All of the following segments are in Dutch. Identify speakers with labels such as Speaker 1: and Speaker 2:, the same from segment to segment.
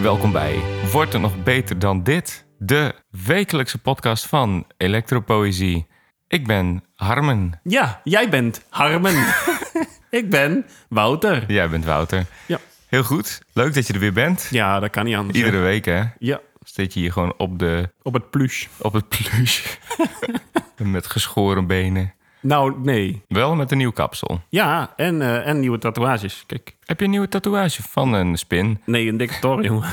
Speaker 1: welkom bij Wordt het nog beter dan dit? De wekelijkse podcast van Elektropoëzie. Ik ben Harmen.
Speaker 2: Ja, jij bent Harmen. ik ben Wouter.
Speaker 1: Jij bent Wouter.
Speaker 2: Ja.
Speaker 1: Heel goed. Leuk dat je er weer bent.
Speaker 2: ja, dat kan niet anders.
Speaker 1: Iedere week, hè?
Speaker 2: Ja,
Speaker 1: Zit je hier gewoon op, de,
Speaker 2: op het plush.
Speaker 1: op het plush. met geschoren benen.
Speaker 2: Nou, nee.
Speaker 1: Wel met een nieuw kapsel.
Speaker 2: Ja, en, eh, en nieuwe tatoeages. Kijk,
Speaker 1: Heb je een nieuwe tatoeage van een spin?
Speaker 2: nee, een dikke toren, jongen.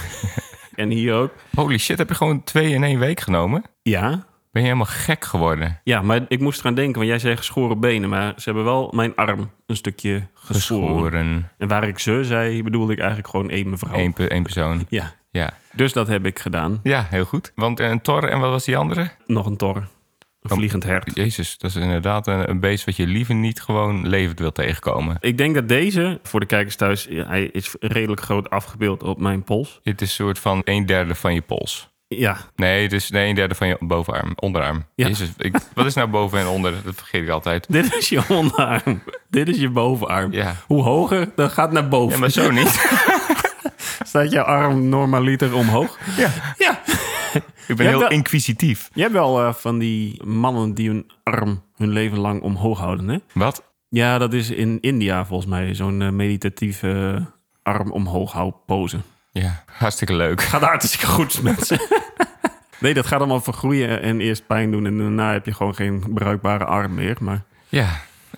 Speaker 2: en hier ook.
Speaker 1: Holy shit, heb je gewoon twee in één week genomen?
Speaker 2: Ja.
Speaker 1: Ben je helemaal gek geworden?
Speaker 2: Ja, maar ik moest eraan denken, want jij zei geschoren benen, maar ze hebben wel mijn arm een stukje geschoren.
Speaker 1: Geschoren.
Speaker 2: En waar ik ze zei, bedoelde ik eigenlijk gewoon één mevrouw.
Speaker 1: Eén pe- één persoon.
Speaker 2: Ja,
Speaker 1: Ja.
Speaker 2: dus dat heb ik gedaan.
Speaker 1: Ja, heel goed. Want een tor en wat was die andere?
Speaker 2: Nog een tor. Een vliegend hert.
Speaker 1: Jezus, dat is inderdaad een, een beest wat je liever niet gewoon levend wil tegenkomen.
Speaker 2: Ik denk dat deze, voor de kijkers thuis, hij is redelijk groot afgebeeld op mijn pols.
Speaker 1: Het is een soort van een derde van je pols.
Speaker 2: Ja,
Speaker 1: Nee, het is nee, een derde van je bovenarm, onderarm.
Speaker 2: Ja.
Speaker 1: Jezus, ik, wat is nou boven en onder? Dat vergeet ik altijd.
Speaker 2: dit is je onderarm. Dit is je bovenarm.
Speaker 1: Ja.
Speaker 2: Hoe hoger, dan gaat naar boven.
Speaker 1: Ja, maar zo niet.
Speaker 2: Staat jouw arm normaliter omhoog?
Speaker 1: Ja.
Speaker 2: Ja.
Speaker 1: Ik ben
Speaker 2: Ja,
Speaker 1: heel
Speaker 2: dat-
Speaker 1: inquisitief.
Speaker 2: Je hebt wel eh, van die mannen die hun arm hun leven lang omhoog houden, hè?
Speaker 1: Wat?
Speaker 2: Ja, dat is in India volgens mij zo'n eh, meditatieve eh, arm omhoog houden pose.
Speaker 1: Ja, hartstikke leuk.
Speaker 2: Gaat hartstikke goed, mensen. nee, dat gaat allemaal vergroeien en eerst pijn doen en daarna heb je gewoon geen bruikbare arm meer. Maar
Speaker 1: Ja,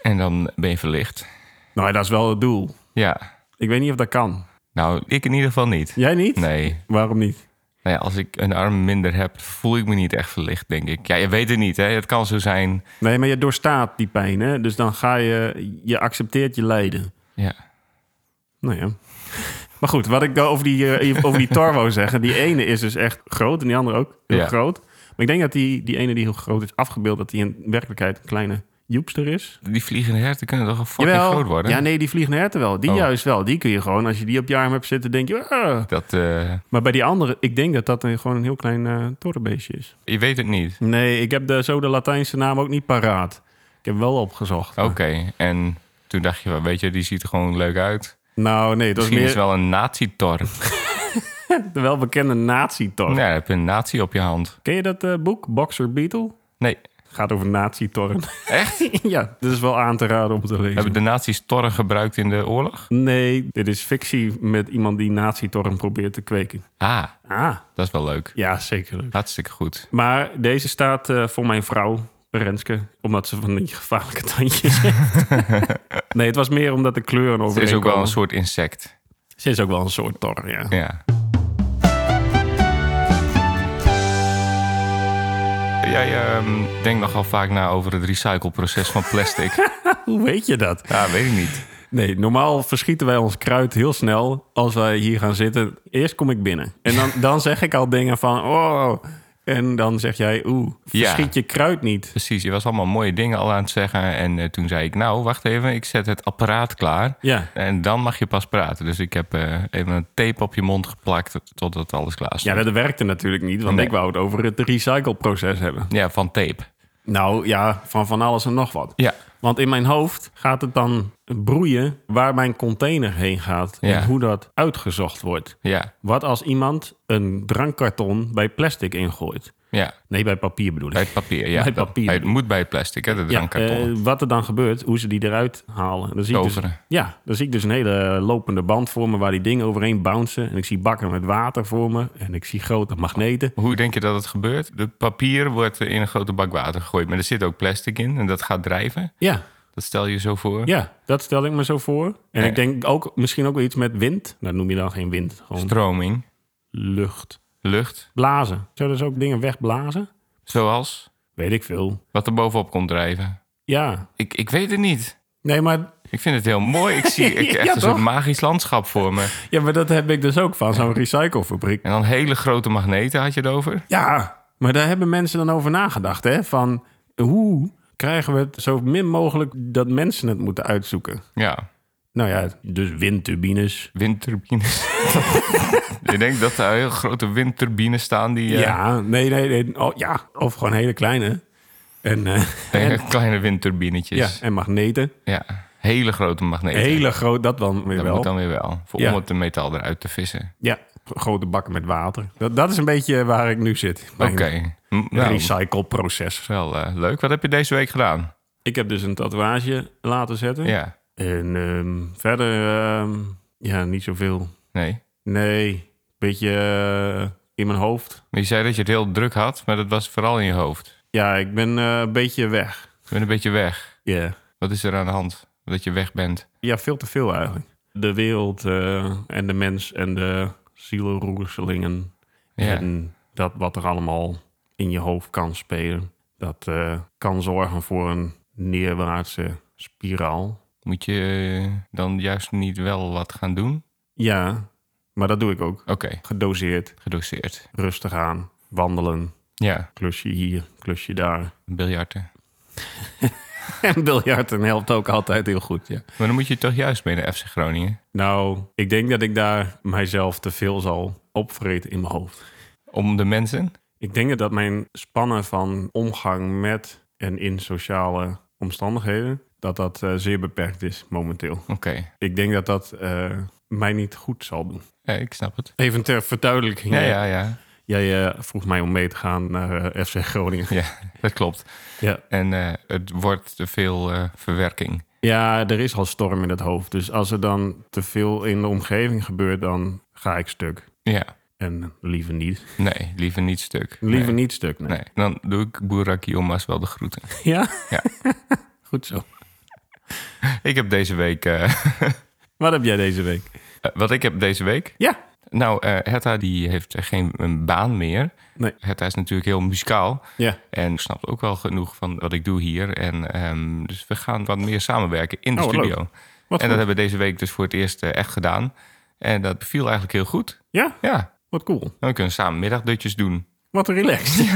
Speaker 1: en dan ben je verlicht.
Speaker 2: nou, dat is wel het doel.
Speaker 1: Ja.
Speaker 2: Ik weet niet of dat kan.
Speaker 1: Nou, ik in ieder geval niet.
Speaker 2: Jij niet?
Speaker 1: Nee.
Speaker 2: Waarom niet?
Speaker 1: Nou ja, als ik een arm minder heb, voel ik me niet echt verlicht, denk ik. Ja, je weet het niet, hè. Het kan zo zijn.
Speaker 2: Nee, maar je doorstaat die pijn, hè? Dus dan ga je, je accepteert je lijden.
Speaker 1: Ja.
Speaker 2: Nou ja. Maar goed, wat ik dan over die, eh, over die Torvo zeggen. Die ene is dus echt groot en die andere ook heel
Speaker 1: Ja.
Speaker 2: groot. Maar ik denk dat die, die ene die heel groot is afgebeeld, dat die in werkelijkheid een kleine joepster is.
Speaker 1: Die vliegende herten kunnen toch een fucking
Speaker 2: Jawel.
Speaker 1: groot worden?
Speaker 2: Ja, nee, die vliegende herten wel. Die
Speaker 1: Oh.
Speaker 2: juist wel. Die kun je gewoon, als je die op je arm hebt zitten, denk je... "Ah."
Speaker 1: Dat, eh,
Speaker 2: Maar bij die andere, ik denk dat dat een, gewoon een heel klein eh torenbeestje is.
Speaker 1: je weet het niet.
Speaker 2: Nee, ik heb de, zo de Latijnse naam ook niet paraat. Ik heb hem wel opgezocht.
Speaker 1: Oké, en toen dacht je, wel, weet je, die ziet er gewoon leuk uit.
Speaker 2: Nou, nee, dat is
Speaker 1: Misschien is
Speaker 2: meer Oh.
Speaker 1: het wel een nazi-tor.
Speaker 2: de welbekende nazi-tor.
Speaker 1: Nou, dan heb je een nazi op je hand.
Speaker 2: Ken je dat eh, boek, Boxer Beetle?
Speaker 1: Nee,
Speaker 2: Gaat over nazi-torren.
Speaker 1: echt?
Speaker 2: ja, dit is wel aan te raden om te lezen.
Speaker 1: Hebben de nazi's torren gebruikt in de oorlog?
Speaker 2: Nee, dit is fictie met iemand die nazi-torren probeert te kweken.
Speaker 1: Ah,
Speaker 2: Ah,
Speaker 1: dat is wel leuk.
Speaker 2: ja, zeker. leuk.
Speaker 1: Hartstikke goed.
Speaker 2: Maar deze staat eh, voor mijn vrouw, Renske, omdat ze van die gevaarlijke tandjes heeft. nee, het was meer omdat de kleuren
Speaker 1: Het is
Speaker 2: overeenkomen.
Speaker 1: ook wel een soort insect.
Speaker 2: Ze is ook wel een soort tor, ja.
Speaker 1: Ja. Jij ehm, denkt nogal vaak na over het recycleproces van plastic.
Speaker 2: Hoe weet je dat?
Speaker 1: ja, weet ik niet.
Speaker 2: Nee, normaal verschieten wij ons kruid heel snel als wij hier gaan zitten. Eerst kom ik binnen. En dan, dan zeg ik al dingen van, oh. En dan zeg jij, oeh,
Speaker 1: Ja.
Speaker 2: verschiet je kruid niet.
Speaker 1: Precies, je was allemaal mooie dingen al aan het zeggen. En eh, toen zei ik, nou, wacht even, ik zet het apparaat klaar.
Speaker 2: Ja.
Speaker 1: En dan mag je pas praten. Dus ik heb eh, even een tape op je mond geplakt totdat alles klaar is.
Speaker 2: Ja, dat werkte natuurlijk niet, want
Speaker 1: Nee.
Speaker 2: ik wou het over het recycleproces hebben.
Speaker 1: Ja, van tape.
Speaker 2: Nou ja, van van alles en nog wat.
Speaker 1: Ja.
Speaker 2: Want in mijn hoofd gaat het dan broeien waar mijn container heen gaat
Speaker 1: Ja.
Speaker 2: en hoe dat uitgezocht wordt.
Speaker 1: Ja,
Speaker 2: Wat als iemand een drankkarton bij plastic ingooit?
Speaker 1: ja.
Speaker 2: Nee, bij papier bedoel ik.
Speaker 1: Bij het papier. Ja,
Speaker 2: Bij
Speaker 1: Dat-
Speaker 2: papier.
Speaker 1: Het moet bij het plastic, hè, de
Speaker 2: Ja,
Speaker 1: drankkarton.
Speaker 2: eh, wat er dan gebeurt, hoe ze die eruit halen. Dan zie ik dus,
Speaker 1: Toveren.
Speaker 2: ja, dan zie ik dus een hele lopende band voor me waar die dingen overheen bouncen. En ik zie bakken met water voor me. En ik zie grote magneten.
Speaker 1: Hoe denk je dat het gebeurt? De papier wordt in een grote bak water gegooid. Maar er zit ook plastic in en dat gaat drijven.
Speaker 2: Ja,
Speaker 1: Dat stel je zo voor.
Speaker 2: ja, dat stel ik me zo voor. En
Speaker 1: Ja.
Speaker 2: ik denk ook misschien ook wel iets met wind. Dat noem je dan geen wind, gewoon
Speaker 1: Stroming,
Speaker 2: lucht.
Speaker 1: lucht,
Speaker 2: Blazen. Zouden ze ook dingen wegblazen?
Speaker 1: zoals
Speaker 2: Weet ik veel.
Speaker 1: wat er bovenop komt drijven.
Speaker 2: Ja.
Speaker 1: Ik, ik weet het niet.
Speaker 2: Nee, maar,
Speaker 1: Ik vind het heel mooi. Ik zie echt
Speaker 2: Ja,
Speaker 1: een soort
Speaker 2: toch?
Speaker 1: magisch landschap voor me.
Speaker 2: ja, maar dat heb ik dus ook van zo'n recyclefabriek.
Speaker 1: En dan hele grote magneten had je het over.
Speaker 2: Ja, maar daar hebben mensen dan over nagedacht, hè? Van hoe krijgen we het zo min mogelijk dat mensen het moeten uitzoeken?
Speaker 1: Ja,
Speaker 2: Nou ja, dus windturbines.
Speaker 1: windturbines. ik denk dat er heel grote windturbines staan die
Speaker 2: Ja,
Speaker 1: eh,
Speaker 2: nee, nee, nee. Oh, ja, of gewoon hele kleine. En, eh, en-
Speaker 1: eh, kleine
Speaker 2: ja,
Speaker 1: windturbinetjes. Ja.
Speaker 2: en magneten.
Speaker 1: hele grote magneten.
Speaker 2: Hele groot, dat dan weer
Speaker 1: dat
Speaker 2: wel.
Speaker 1: moet dan weer wel. Voor
Speaker 2: Ja.
Speaker 1: om het metaal eruit te vissen.
Speaker 2: Ja, grote bakken met water. Dat, dat is een beetje waar ik nu zit.
Speaker 1: Oké.
Speaker 2: Mijn
Speaker 1: M- Nou, dat
Speaker 2: recycleproces.
Speaker 1: is wel eh, leuk. Wat heb je deze week gedaan?
Speaker 2: Ik heb dus een tatoeage laten zetten.
Speaker 1: Ja.
Speaker 2: En ehm, verder, ehm, ja, niet zoveel.
Speaker 1: Nee.
Speaker 2: Nee, beetje eh, in mijn hoofd.
Speaker 1: Maar je zei dat je het heel druk had, maar dat was vooral in je hoofd.
Speaker 2: Ja, ik ben eh, een beetje weg.
Speaker 1: Je bent een beetje weg.
Speaker 2: Ja.
Speaker 1: Wat is er aan de hand? Dat je weg bent.
Speaker 2: Ja, veel te veel eigenlijk. De wereld eh, en de mens en de zielenroerselingen.
Speaker 1: Ja.
Speaker 2: En dat wat er allemaal in je hoofd kan spelen. Dat eh, kan zorgen voor een neerwaartse spiraal.
Speaker 1: Moet je eh, dan juist niet wel wat gaan doen?
Speaker 2: Ja, maar dat doe ik ook.
Speaker 1: Oké,
Speaker 2: Gedoseerd,
Speaker 1: gedoseerd.
Speaker 2: rustig aan, wandelen.
Speaker 1: Ja,
Speaker 2: Klusje hier, klusje daar.
Speaker 1: biljarten.
Speaker 2: En biljarten helpt ook altijd heel goed, ja.
Speaker 1: Maar dan moet je toch juist mee naar FC Groningen.
Speaker 2: Nou, ik denk dat ik daar mijzelf te veel zal opvreten in mijn hoofd.
Speaker 1: Om de mensen?
Speaker 2: Ik denk dat mijn spannen van omgang met en in sociale omstandigheden, dat dat eh, zeer beperkt is momenteel.
Speaker 1: Oké,
Speaker 2: Ik denk dat dat eh, mij niet goed zal doen.
Speaker 1: Ja, ik snap het.
Speaker 2: Even ter verduidelijking.
Speaker 1: Ja, ja, ja.
Speaker 2: Jij eh, vroeg mij om mee te gaan naar eh, FC Groningen.
Speaker 1: Ja, dat klopt.
Speaker 2: Ja.
Speaker 1: En eh, het wordt te veel eh, verwerking.
Speaker 2: ja, er is al storm in het hoofd. Dus als er dan te veel in de omgeving gebeurt, dan ga ik stuk.
Speaker 1: Ja,
Speaker 2: En liever niet.
Speaker 1: nee, liever niet stuk.
Speaker 2: Liever
Speaker 1: nee.
Speaker 2: niet stuk, nee.
Speaker 1: Nee, dan doe ik Boerak Yilmaz wel de groeten.
Speaker 2: Ja?
Speaker 1: Ja.
Speaker 2: Goed zo.
Speaker 1: ik heb deze week... eh,
Speaker 2: Wat heb jij deze week?
Speaker 1: wat ik heb deze week?
Speaker 2: Ja.
Speaker 1: Nou, eh Herta die heeft geen een baan meer.
Speaker 2: Nee.
Speaker 1: Herta is natuurlijk heel muzikaal.
Speaker 2: Ja.
Speaker 1: En snapt ook wel genoeg van wat ik doe hier. En, ehm, dus we gaan wat meer samenwerken in de
Speaker 2: Oh, wat
Speaker 1: studio.
Speaker 2: Wat
Speaker 1: en
Speaker 2: goed.
Speaker 1: dat hebben we deze week dus voor het eerst eh, echt gedaan. En dat viel eigenlijk heel goed.
Speaker 2: Ja,
Speaker 1: Ja,
Speaker 2: wat cool.
Speaker 1: dan kunnen we samen middagdutjes doen.
Speaker 2: Wat relaxed.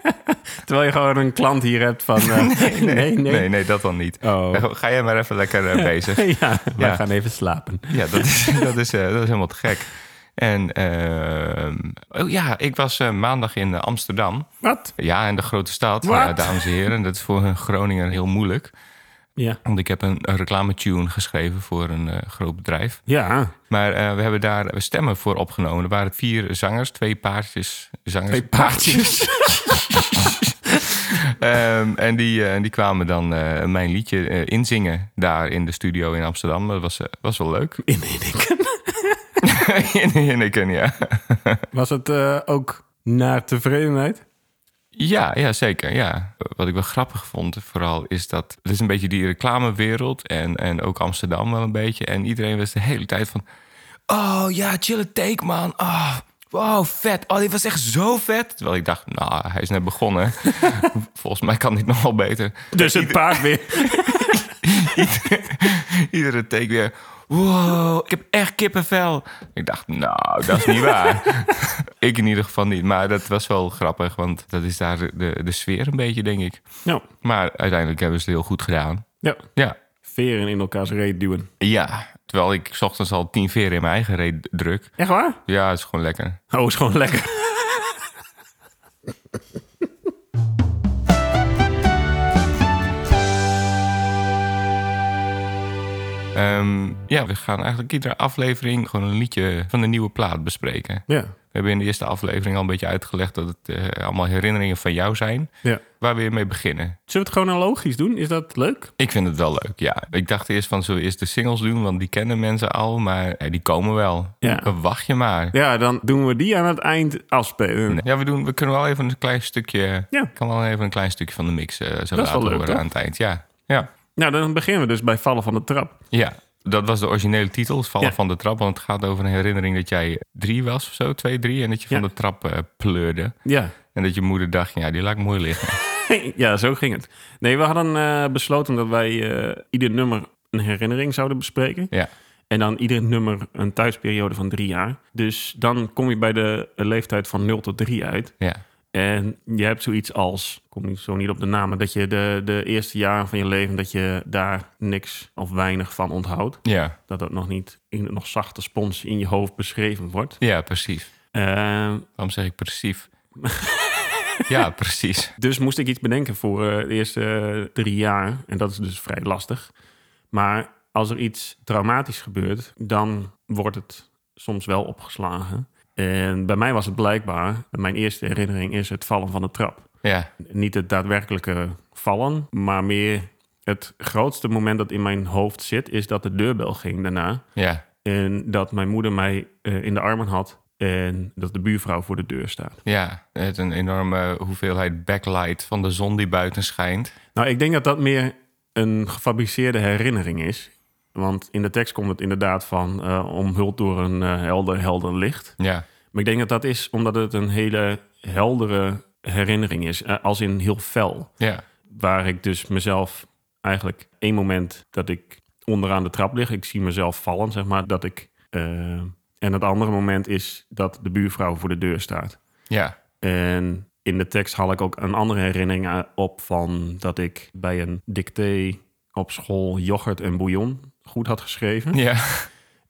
Speaker 2: Terwijl je gewoon een klant hier hebt van... eh, nee, nee, nee.
Speaker 1: Nee, nee, dat dan niet.
Speaker 2: Oh.
Speaker 1: Ga jij maar even lekker eh, bezig.
Speaker 2: ja, wij
Speaker 1: Ja.
Speaker 2: gaan even slapen.
Speaker 1: Ja, dat is, dat is, eh, dat is helemaal te gek. En ehm, oh ja, ik was eh, maandag in eh, Amsterdam.
Speaker 2: Wat?
Speaker 1: Ja, in de grote stad.
Speaker 2: Wat?
Speaker 1: Ja, dames en heren, dat is voor een Groninger heel moeilijk.
Speaker 2: Ja.
Speaker 1: Want ik heb een, een reclame-tune geschreven voor een eh, groot bedrijf.
Speaker 2: Ja,
Speaker 1: Maar eh, we hebben daar stemmen voor opgenomen. Er waren vier zangers, twee paardjes. Zangers,
Speaker 2: twee paardjes.
Speaker 1: Ehm, en die, eh, die kwamen dan eh, mijn liedje eh, inzingen daar in de studio in Amsterdam. Dat was, eh, was wel leuk.
Speaker 2: In Hinneken.
Speaker 1: in Hinneken, ja.
Speaker 2: Was het eh, ook naar tevredenheid?
Speaker 1: Ja, ja, zeker. Ja. Wat ik wel grappig vond vooral is dat... Het is een beetje die reclamewereld en, en ook Amsterdam wel een beetje. En iedereen was de hele tijd van... Oh ja, chille take man. Oh, wow, vet. Oh, dit was echt zo vet. Terwijl ik dacht, nou, hij is net begonnen. Volgens mij kan dit nog wel beter.
Speaker 2: Dus het paard weer.
Speaker 1: Iedere take weer. Wow, ik heb echt kippenvel. Ik dacht, nou, dat is niet waar. ik in ieder geval niet. Maar dat was wel grappig, want dat is daar de, de sfeer een beetje, denk ik.
Speaker 2: Nou,
Speaker 1: Maar uiteindelijk hebben ze het heel goed gedaan.
Speaker 2: ja.
Speaker 1: Ja.
Speaker 2: Veren in elkaars reet duwen.
Speaker 1: Ja. Terwijl ik 's ochtends al tien veren in mijn eigen reet druk.
Speaker 2: Echt waar?
Speaker 1: Ja, het is gewoon lekker.
Speaker 2: Oh, is gewoon lekker.
Speaker 1: Ehm, ja, we gaan eigenlijk iedere aflevering gewoon een liedje van de nieuwe plaat bespreken.
Speaker 2: Ja,
Speaker 1: We hebben in de eerste aflevering al een beetje uitgelegd dat het eh, allemaal herinneringen van jou zijn.
Speaker 2: ja.
Speaker 1: Waar we weer mee beginnen.
Speaker 2: Zullen we het gewoon logisch doen? Is dat leuk?
Speaker 1: Ik vind het wel leuk, ja. Ik dacht eerst van, zullen we eerst de singles doen? Want die kennen mensen al, maar eh, die komen wel.
Speaker 2: Ja.
Speaker 1: Dan Wacht je maar.
Speaker 2: Ja, dan doen we die aan het eind afspelen.
Speaker 1: Ja, we, doen, we kunnen wel even een klein stukje.
Speaker 2: Ja.
Speaker 1: Ik kan wel even een klein stukje van de mix eh, zo
Speaker 2: wel
Speaker 1: laten
Speaker 2: leuk,
Speaker 1: horen
Speaker 2: toch?
Speaker 1: aan het eind. Ja. Ja.
Speaker 2: Nou, dan beginnen we dus bij vallen van de trap.
Speaker 1: ja, dat was de originele titel, het Vallen
Speaker 2: Ja.
Speaker 1: van de trap. Want het gaat over een herinnering dat jij drie was of zo, twee, drie. En dat je van
Speaker 2: Ja.
Speaker 1: de trap eh, pleurde.
Speaker 2: Ja.
Speaker 1: En dat je moeder dacht, ja, die laat ik mooi liggen.
Speaker 2: ja, zo ging het. Nee, we hadden eh, besloten dat wij eh, ieder nummer een herinnering zouden bespreken.
Speaker 1: ja.
Speaker 2: En dan ieder nummer een thuisperiode van drie jaar. Dus dan kom je bij de leeftijd van 0 tot 3 uit.
Speaker 1: ja.
Speaker 2: En je hebt zoiets als, ik kom niet zo niet op de namen, dat je de, de eerste jaren van je leven, dat je daar niks of weinig van onthoudt.
Speaker 1: Ja,
Speaker 2: Dat dat nog niet in nog zachte spons in je hoofd beschreven wordt.
Speaker 1: ja, precies.
Speaker 2: Eh,
Speaker 1: Waarom zeg ik precies? ja, precies.
Speaker 2: Dus moest ik iets bedenken voor eh, de eerste eh, drie jaar. En dat is dus vrij lastig. Maar als er iets traumatisch gebeurt, dan wordt het soms wel opgeslagen. En bij mij was het blijkbaar, mijn eerste herinnering is het vallen van de trap.
Speaker 1: Ja,
Speaker 2: Niet het daadwerkelijke vallen, maar meer het grootste moment dat in mijn hoofd zit, is dat de deurbel ging daarna.
Speaker 1: ja.
Speaker 2: En dat mijn moeder mij eh, in de armen had en dat de buurvrouw voor de deur staat.
Speaker 1: Ja, het een enorme hoeveelheid backlight van de zon die buiten schijnt.
Speaker 2: Nou, ik denk dat dat meer een gefabriceerde herinnering is. Want in de tekst komt het inderdaad van eh, omhuld door een eh, helder, helder licht.
Speaker 1: Ja,
Speaker 2: Maar ik denk dat dat is omdat het een hele heldere herinnering is. eh, als in heel fel.
Speaker 1: ja,
Speaker 2: Waar ik dus mezelf eigenlijk één moment dat ik onderaan de trap lig. Ik zie mezelf vallen, zeg maar. Dat ik, eh, en het andere moment is dat de buurvrouw voor de deur staat.
Speaker 1: ja,
Speaker 2: En in de tekst haal ik ook een andere herinnering eh, op van dat ik bij een dicté op school yoghurt en bouillon goed had geschreven.
Speaker 1: ja.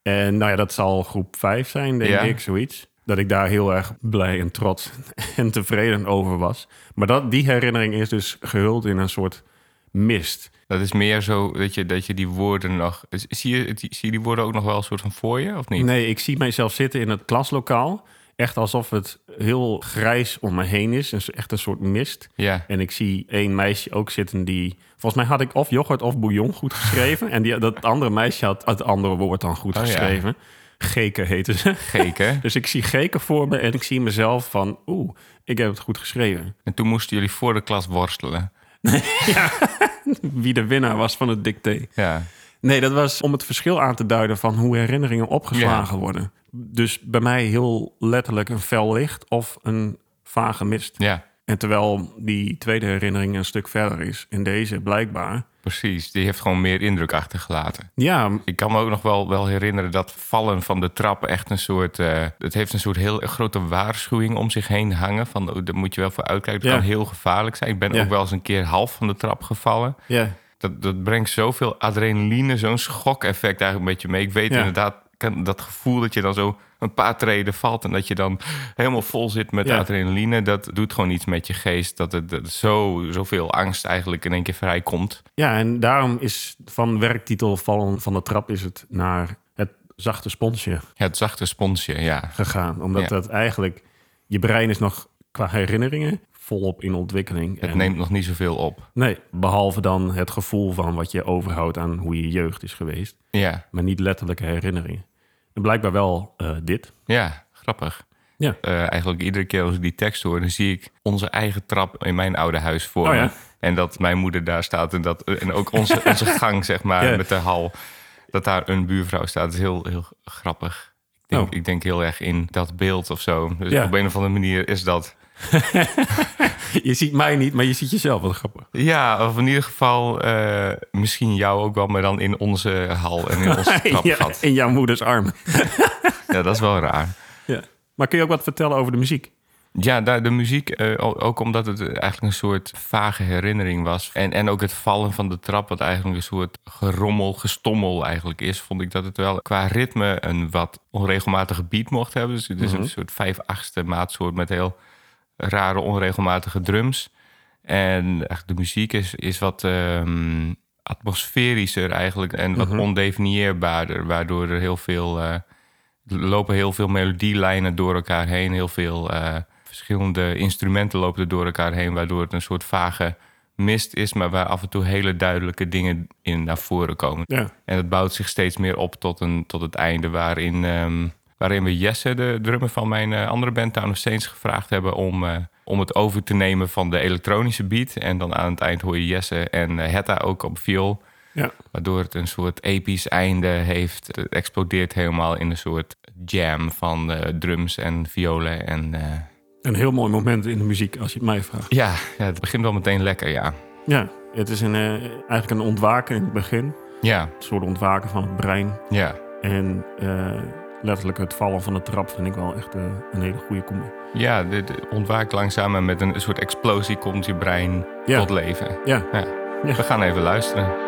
Speaker 2: En nou ja, dat zal groep 5 zijn, denk
Speaker 1: Ja.
Speaker 2: ik, zoiets. Dat ik daar heel erg blij en trots en tevreden over was. Maar dat, die herinnering is dus gehuld in een soort mist.
Speaker 1: Dat is meer zo dat je, dat je die woorden nog... Zie je, die- zie je die woorden ook nog wel een soort van voor je, of niet?
Speaker 2: Nee, ik zie mijzelf zitten in het klaslokaal. Echt alsof het heel grijs om me heen is. Een s- Echt een soort mist.
Speaker 1: Ja,
Speaker 2: En ik zie één meisje ook zitten die... Volgens mij had ik of yoghurt of bouillon goed geschreven. en die, dat andere meisje had het andere woord dan goed
Speaker 1: Oh ja.
Speaker 2: geschreven. Geken heette ze.
Speaker 1: geken.
Speaker 2: Dus ik zie geken voor me en ik zie mezelf van... Oeh, ik heb het goed geschreven.
Speaker 1: En toen moesten jullie voor de klas worstelen.
Speaker 2: Wie de winnaar was van het dicté.
Speaker 1: Ja,
Speaker 2: Nee, dat was om het verschil aan te duiden van hoe herinneringen opgeslagen worden. Dus bij mij heel letterlijk een fel licht of een vage mist.
Speaker 1: ja,
Speaker 2: En terwijl die tweede herinnering een stuk verder is. En deze blijkbaar...
Speaker 1: precies. Die heeft gewoon meer indruk achtergelaten.
Speaker 2: Ja,
Speaker 1: Ik kan me ook nog wel, wel herinneren dat vallen van de trap echt een soort... eh, het heeft een soort heel grote waarschuwing om zich heen hangen. Van, oh, daar moet je wel voor uitkijken. Dat
Speaker 2: Ja.
Speaker 1: kan heel gevaarlijk zijn. Ik ben
Speaker 2: Ja.
Speaker 1: ook wel eens een keer half van de trap gevallen.
Speaker 2: ja.
Speaker 1: Dat, dat brengt zoveel adrenaline, zo'n schok-effect eigenlijk een beetje mee. Ik weet
Speaker 2: Ja.
Speaker 1: inderdaad kan, dat gevoel dat je dan zo een paar treden valt... en dat je dan helemaal vol zit met
Speaker 2: Ja.
Speaker 1: adrenaline. Dat doet gewoon iets met je geest. Dat het dat zo, zoveel angst eigenlijk in één keer vrijkomt.
Speaker 2: Ja, en daarom is van werktitel Vallen van de Trap is het naar het zachte sponsje
Speaker 1: Ja, het zachte sponsje, ja.
Speaker 2: gegaan. Omdat
Speaker 1: Ja.
Speaker 2: dat eigenlijk, je brein is nog qua herinneringen volop in ontwikkeling.
Speaker 1: Het
Speaker 2: En-
Speaker 1: neemt nog niet zoveel op.
Speaker 2: Nee, behalve dan het gevoel van wat je overhoudt aan hoe je jeugd is geweest.
Speaker 1: Ja,
Speaker 2: Maar niet letterlijke herinneringen. En blijkbaar wel eh, dit.
Speaker 1: ja, grappig.
Speaker 2: Ja.
Speaker 1: Eh, eigenlijk iedere keer als ik die tekst hoor... dan zie ik onze eigen trap in mijn oude huis voor
Speaker 2: Oh
Speaker 1: me.
Speaker 2: ja.
Speaker 1: En dat mijn moeder daar staat en, dat, en ook onze, onze gang, zeg maar,
Speaker 2: Ja.
Speaker 1: met de hal. Dat daar een buurvrouw staat. Dat is heel, heel grappig. Ik denk,
Speaker 2: Oh.
Speaker 1: ik denk heel erg in dat beeld of zo. Dus
Speaker 2: Ja.
Speaker 1: op een of andere manier is dat...
Speaker 2: Je ziet mij niet, maar je ziet jezelf. Wat grappig.
Speaker 1: Ja, of in ieder geval eh, misschien jou ook wel... maar dan in onze hal en in onze
Speaker 2: Ja,
Speaker 1: trapgat.
Speaker 2: in jouw moeders armen.
Speaker 1: Ja. dat is wel raar.
Speaker 2: Ja. Maar kun je ook wat vertellen over de muziek?
Speaker 1: Ja, daar- de muziek, eh, o- ook omdat het eigenlijk een soort vage herinnering was. En, en ook het vallen van de trap, wat eigenlijk een soort gerommel, gestommel eigenlijk is, vond ik dat het wel qua ritme een wat onregelmatige beat mocht hebben. Dus het is een soort vijf-achtste maatsoort met heel rare, onregelmatige drums. En eigenlijk de muziek is, is wat ehm, atmosferischer eigenlijk en wat ondefinieerbaarder, waardoor er heel veel... eh, er lopen heel veel melodielijnen door elkaar heen. Heel veel eh, verschillende instrumenten lopen er door elkaar heen. Waardoor het een soort vage mist is, maar waar af en toe hele duidelijke dingen in naar voren komen.
Speaker 2: Ja.
Speaker 1: En dat bouwt zich steeds meer op tot, een, tot het einde waarin, ehm, waarin we Jesse, de drummer van mijn eh, andere band Town of Saints, gevraagd hebben om, eh, om het over te nemen van de elektronische beat. En dan aan het eind hoor je Jesse en eh, Hetta ook op viool.
Speaker 2: Ja.
Speaker 1: Waardoor het een soort episch einde heeft. Het explodeert helemaal in een soort jam van eh, drums en violen. En eh,
Speaker 2: Een heel mooi moment in de muziek, als je het mij vraagt.
Speaker 1: ja, ja, het begint wel meteen lekker, ja.
Speaker 2: Ja, het is een, eh, eigenlijk een ontwaken in het begin. Een
Speaker 1: Ja,
Speaker 2: soort ontwaken van het brein.
Speaker 1: ja.
Speaker 2: En eh, letterlijk het vallen van de trap vind ik wel echt eh, een hele goede combi.
Speaker 1: Ja, dit ontwaakt langzaam en met een soort explosie komt je brein
Speaker 2: Ja.
Speaker 1: tot leven.
Speaker 2: Ja.
Speaker 1: Ja.
Speaker 2: Ja.
Speaker 1: We gaan even luisteren.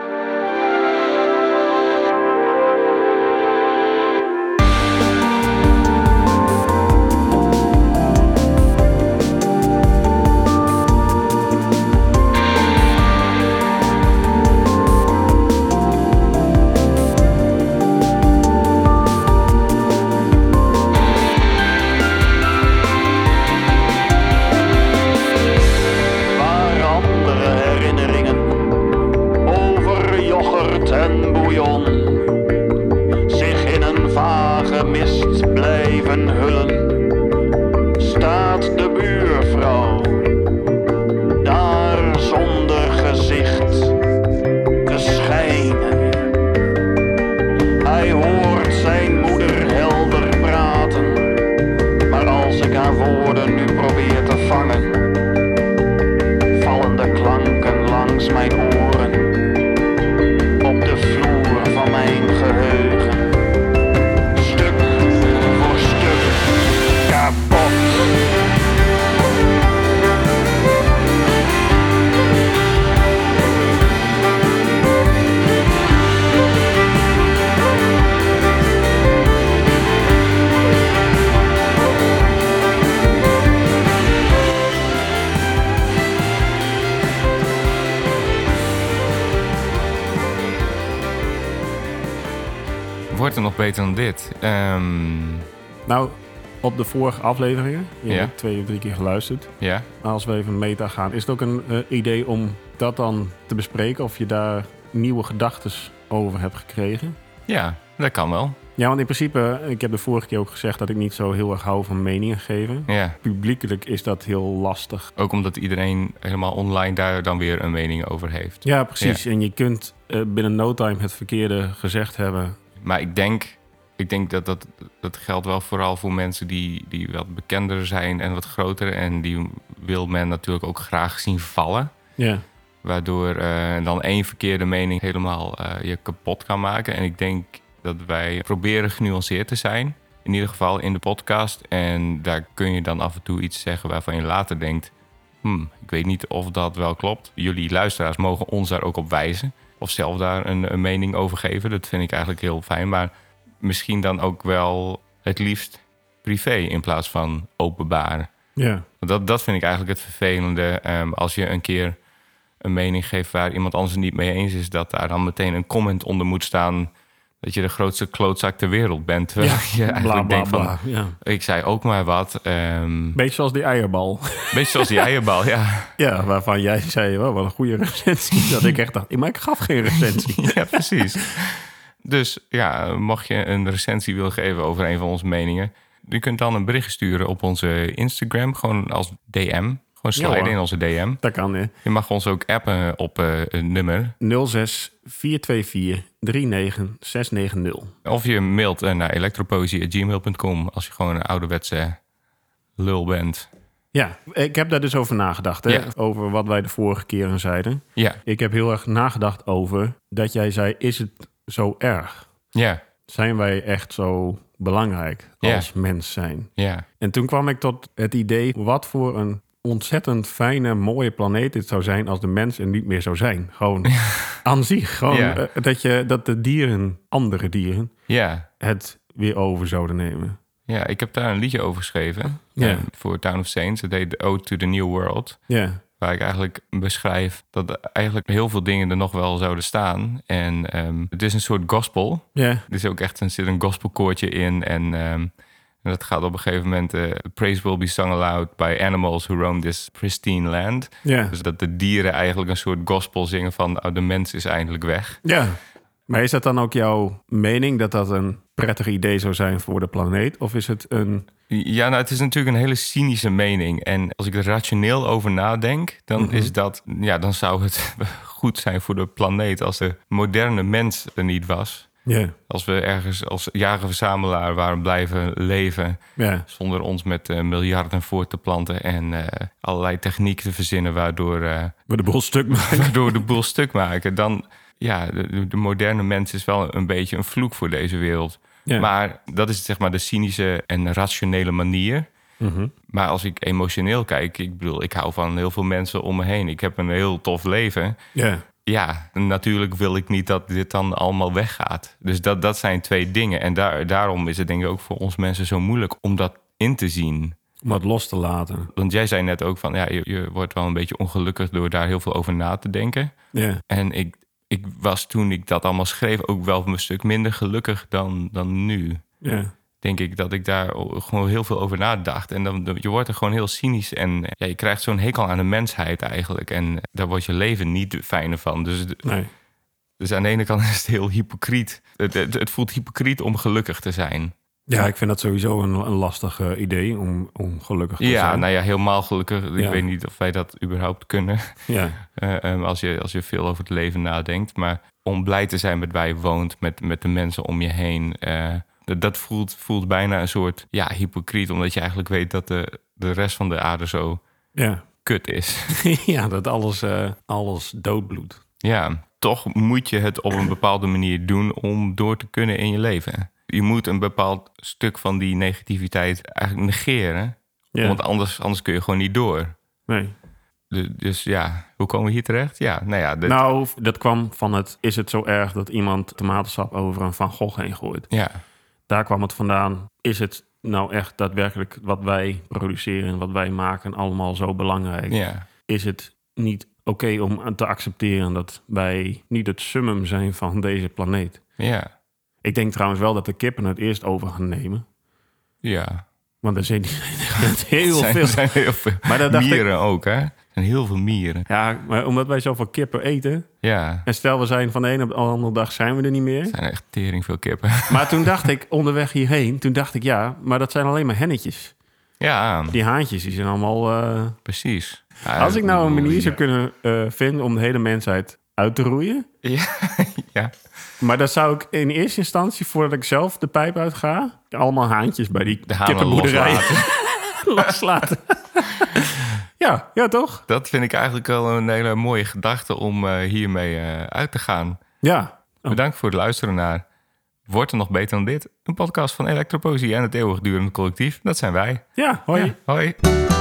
Speaker 1: wordt hem nog beter dan dit. Ehm,
Speaker 2: Nou, op de vorige afleveringen, je
Speaker 1: Ja.
Speaker 2: hebt twee of drie keer geluisterd.
Speaker 1: ja.
Speaker 2: Maar als we even meta gaan, is het ook een eh, idee om dat dan te bespreken? Of je daar nieuwe gedachten over hebt gekregen?
Speaker 1: ja, dat kan wel.
Speaker 2: Ja, want in principe, eh, ik heb de vorige keer ook gezegd dat ik niet zo heel erg hou van meningen geven.
Speaker 1: Ja.
Speaker 2: Publiekelijk is dat heel lastig.
Speaker 1: Ook omdat iedereen helemaal online daar dan weer een mening over heeft.
Speaker 2: Ja, precies. En je kunt eh, binnen no time het verkeerde gezegd hebben.
Speaker 1: Maar ik denk, ik denk dat, dat dat geldt wel vooral voor mensen die, die wat bekender zijn en wat groter. En die wil men natuurlijk ook graag zien vallen.
Speaker 2: Ja.
Speaker 1: Waardoor eh, dan één verkeerde mening helemaal eh, je kapot kan maken. En ik denk dat wij proberen genuanceerd te zijn. In ieder geval in de podcast. En daar kun je dan af en toe iets zeggen waarvan je later denkt... Hmm, ik weet niet of dat wel klopt. Jullie luisteraars mogen ons daar ook op wijzen. Of zelf daar een, een mening over geven. Dat vind ik eigenlijk heel fijn. Maar misschien dan ook wel het liefst privé in plaats van openbaar.
Speaker 2: Ja.
Speaker 1: Want Dat, dat vind ik eigenlijk het vervelende. Ehm, als je een keer een mening geeft waar iemand anders het niet mee eens is, dat daar dan meteen een comment onder moet staan. Dat je de grootste klootzak ter wereld bent. Terwijl je eigenlijk
Speaker 2: Bla, bla,
Speaker 1: denkt van,
Speaker 2: bla. Ja.
Speaker 1: ik zei ook maar wat. ehm
Speaker 2: Beetje zoals die eierbal.
Speaker 1: beetje zoals die eierbal, ja.
Speaker 2: Ja, waarvan jij zei, "Wow, wat een goede recensie. Dat ik echt dacht, maar ik gaf geen recensie.
Speaker 1: ja, precies. Dus ja, mocht je een recensie willen geven over een van onze meningen, je kunt dan een bericht sturen op onze Instagram, gewoon als DM. Gewoon
Speaker 2: Ja,
Speaker 1: sliden
Speaker 2: hoor.
Speaker 1: in onze DM.
Speaker 2: Dat kan, hè.
Speaker 1: Je mag ons ook appen op eh, een nummer.
Speaker 2: 06 424 39 690.
Speaker 1: Of je mailt eh, naar elektropoëzie.gmail.com als je gewoon een ouderwetse lul bent.
Speaker 2: Ja, ik heb daar dus over nagedacht. Hè?
Speaker 1: Ja.
Speaker 2: Over wat wij de vorige keren zeiden.
Speaker 1: Ja,
Speaker 2: Ik heb heel erg nagedacht over dat jij zei: is het zo erg?
Speaker 1: ja,
Speaker 2: Zijn wij echt zo belangrijk
Speaker 1: Ja.
Speaker 2: als mens zijn?
Speaker 1: ja,
Speaker 2: En toen kwam ik tot het idee: wat voor een ontzettend fijne, mooie planeet dit zou zijn als de mens er niet meer zou zijn. Gewoon aan zich. Gewoon
Speaker 1: Ja.
Speaker 2: eh, dat, je, dat de dieren, andere dieren,
Speaker 1: ja.
Speaker 2: het weer over zouden nemen.
Speaker 1: Ja, ik heb daar een liedje over geschreven
Speaker 2: Ja.
Speaker 1: eh, voor Town of Saints. Het heet Ode to the New World.
Speaker 2: Ja,
Speaker 1: Waar ik eigenlijk beschrijf dat er eigenlijk heel veel dingen er nog wel zouden staan. En ehm, het is een soort gospel.
Speaker 2: ja,
Speaker 1: Er is ook echt een, zit een gospelkoortje in. En, ehm, en dat gaat op een gegeven moment... eh, Praise will be sung aloud by animals who roam this pristine land.
Speaker 2: ja.
Speaker 1: Dus dat de dieren eigenlijk een soort gospel zingen van oh, de mens is eindelijk weg.
Speaker 2: Ja. Maar is dat dan ook jouw mening dat dat een prettig idee zou zijn voor de planeet? Of is het een.
Speaker 1: Ja, nou, het is natuurlijk een hele cynische mening. En als ik er rationeel over nadenk, dan is dat, ja, dan zou het goed zijn voor de planeet als de moderne mens er niet was.
Speaker 2: Ja.
Speaker 1: Als we ergens als jager-verzamelaar waren blijven leven.
Speaker 2: Ja.
Speaker 1: Zonder ons met eh, miljarden voor te planten en eh, allerlei technieken te verzinnen. waardoor eh,
Speaker 2: Maar de boel stuk maken.
Speaker 1: door de boel stuk maken, dan ja, de, de moderne mens is wel een beetje een vloek voor deze wereld.
Speaker 2: Ja.
Speaker 1: Maar dat is zeg maar de cynische en rationele manier. Maar als ik emotioneel kijk, ik bedoel, ik hou van heel veel mensen om me heen. Ik heb een heel tof leven.
Speaker 2: Ja.
Speaker 1: Ja, natuurlijk wil ik niet dat dit dan allemaal weggaat. Dus dat, dat zijn twee dingen. En daar, daarom is het denk ik ook voor ons mensen zo moeilijk om dat in te zien.
Speaker 2: Om het los te laten.
Speaker 1: Want jij zei net ook van, ja, je, je wordt wel een beetje ongelukkig door daar heel veel over na te denken.
Speaker 2: Ja.
Speaker 1: En ik, ik was toen ik dat allemaal schreef ook wel een stuk minder gelukkig dan, dan nu.
Speaker 2: Ja.
Speaker 1: Denk ik dat ik daar o- gewoon heel veel over nadacht. En dan, je wordt er gewoon heel cynisch en ja, je krijgt zo'n hekel aan de mensheid eigenlijk. En eh, daar wordt je leven niet fijner van. Dus, d-
Speaker 2: Nee.
Speaker 1: dus aan de ene kant is het heel hypocriet. Het, het, het voelt hypocriet om gelukkig te zijn.
Speaker 2: Ja, ik vind dat sowieso een, een lastig eh, idee om, om gelukkig te
Speaker 1: Ja,
Speaker 2: zijn.
Speaker 1: nou ja, helemaal gelukkig. Ik
Speaker 2: Ja.
Speaker 1: weet niet of wij dat überhaupt kunnen.
Speaker 2: Ja.
Speaker 1: Eh, ehm, als, je, als je veel over het leven nadenkt. Maar om blij te zijn met waar je woont, met, met de mensen om je heen. eh, dat dat voelt, voelt bijna een soort ja, hypocriet. Omdat je eigenlijk weet dat de, de rest van de aarde zo
Speaker 2: Ja.
Speaker 1: kut is.
Speaker 2: ja, dat alles, eh, alles doodbloedt.
Speaker 1: ja, toch moet je het op een bepaalde manier doen om door te kunnen in je leven. Je moet een bepaald stuk van die negativiteit eigenlijk negeren.
Speaker 2: Ja.
Speaker 1: Want anders, anders kun je gewoon niet door.
Speaker 2: Nee.
Speaker 1: Du- Dus ja, hoe komen we hier terecht? Ja, nou ja, dit-
Speaker 2: Nou, dat kwam van het... Is het zo erg dat iemand tomatensap over een Van Gogh heen gooit?
Speaker 1: ja,
Speaker 2: daar kwam het vandaan. Is het nou echt daadwerkelijk wat wij produceren en wat wij maken allemaal zo belangrijk?
Speaker 1: ja,
Speaker 2: Is het niet oké om te accepteren dat wij niet het summum zijn van deze planeet?
Speaker 1: ja.
Speaker 2: Ik denk trouwens wel dat de kippen het eerst over gaan nemen.
Speaker 1: Ja.
Speaker 2: Want er zijn, er zijn
Speaker 1: Er
Speaker 2: heel
Speaker 1: zijn,
Speaker 2: veel.
Speaker 1: zijn heel veel
Speaker 2: Maar dat dacht ik-
Speaker 1: mieren ook, hè? Er zijn heel veel mieren.
Speaker 2: Ja, maar omdat wij zoveel kippen eten.
Speaker 1: Ja,
Speaker 2: En stel, we zijn van de ene op de andere dag zijn we er niet meer.
Speaker 1: er zijn echt tering veel kippen.
Speaker 2: Maar toen dacht ik, onderweg hierheen, toen dacht ik ja, maar dat zijn alleen maar hennetjes.
Speaker 1: Ja,
Speaker 2: Die haantjes, die zijn allemaal... eh,
Speaker 1: precies. Ja,
Speaker 2: Als ik nou een manier zou
Speaker 1: ja.
Speaker 2: kunnen eh, vinden om de hele mensheid uit te roeien...
Speaker 1: Ja,
Speaker 2: Maar dat zou ik in eerste instantie, voordat ik zelf de pijp uit ga... allemaal haantjes bij die
Speaker 1: de hanen
Speaker 2: kippenboerderijen
Speaker 1: loslaten.
Speaker 2: loslaten. ja, ja toch?
Speaker 1: Dat vind ik eigenlijk wel een hele mooie gedachte om eh, hiermee eh, uit te gaan.
Speaker 2: Oh. Ja.
Speaker 1: Bedankt voor het luisteren naar Wordt er nog beter dan dit? Een podcast van Elektropoëzie en het eeuwigdurende collectief. Dat zijn wij.
Speaker 2: Ja, hoi.
Speaker 1: Hoi.